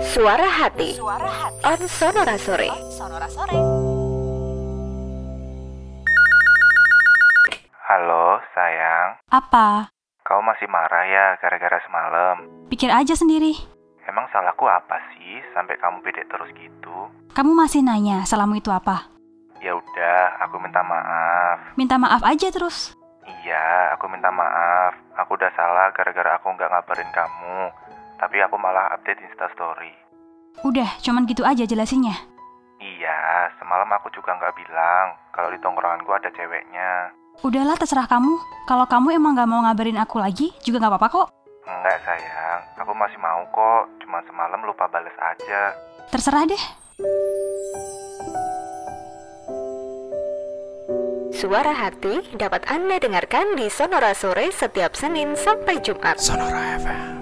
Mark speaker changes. Speaker 1: Suara Hati
Speaker 2: Suara hati.
Speaker 1: on Sonora Sore.
Speaker 2: Sonora sore.
Speaker 3: Halo, sayang.
Speaker 4: Apa?
Speaker 3: Kau masih marah ya gara-gara semalam?
Speaker 4: Pikir aja sendiri.
Speaker 3: Emang salahku apa sih sampai kamu bedek terus gitu?
Speaker 4: Kamu masih nanya salamu itu apa?
Speaker 3: Ya udah, aku minta maaf.
Speaker 4: Minta maaf aja terus.
Speaker 3: Iya, aku minta maaf. Aku udah salah gara-gara aku nggak ngabarin kamu. Tapi aku malah update instastory.
Speaker 4: Udah, cuman gitu aja jelasinnya.
Speaker 3: Iya, semalam aku juga nggak bilang kalau di tongkronganku ada ceweknya.
Speaker 4: Udahlah terserah kamu. Kalau kamu emang gak mau ngabarin aku lagi, juga gak apa-apa kok.
Speaker 3: Enggak sayang, aku masih mau kok. Cuma semalam lupa bales aja.
Speaker 4: Terserah deh.
Speaker 1: Suara Hati dapat Anda dengarkan di Sonora Sore setiap Senin sampai Jumat.
Speaker 5: Sonora FM.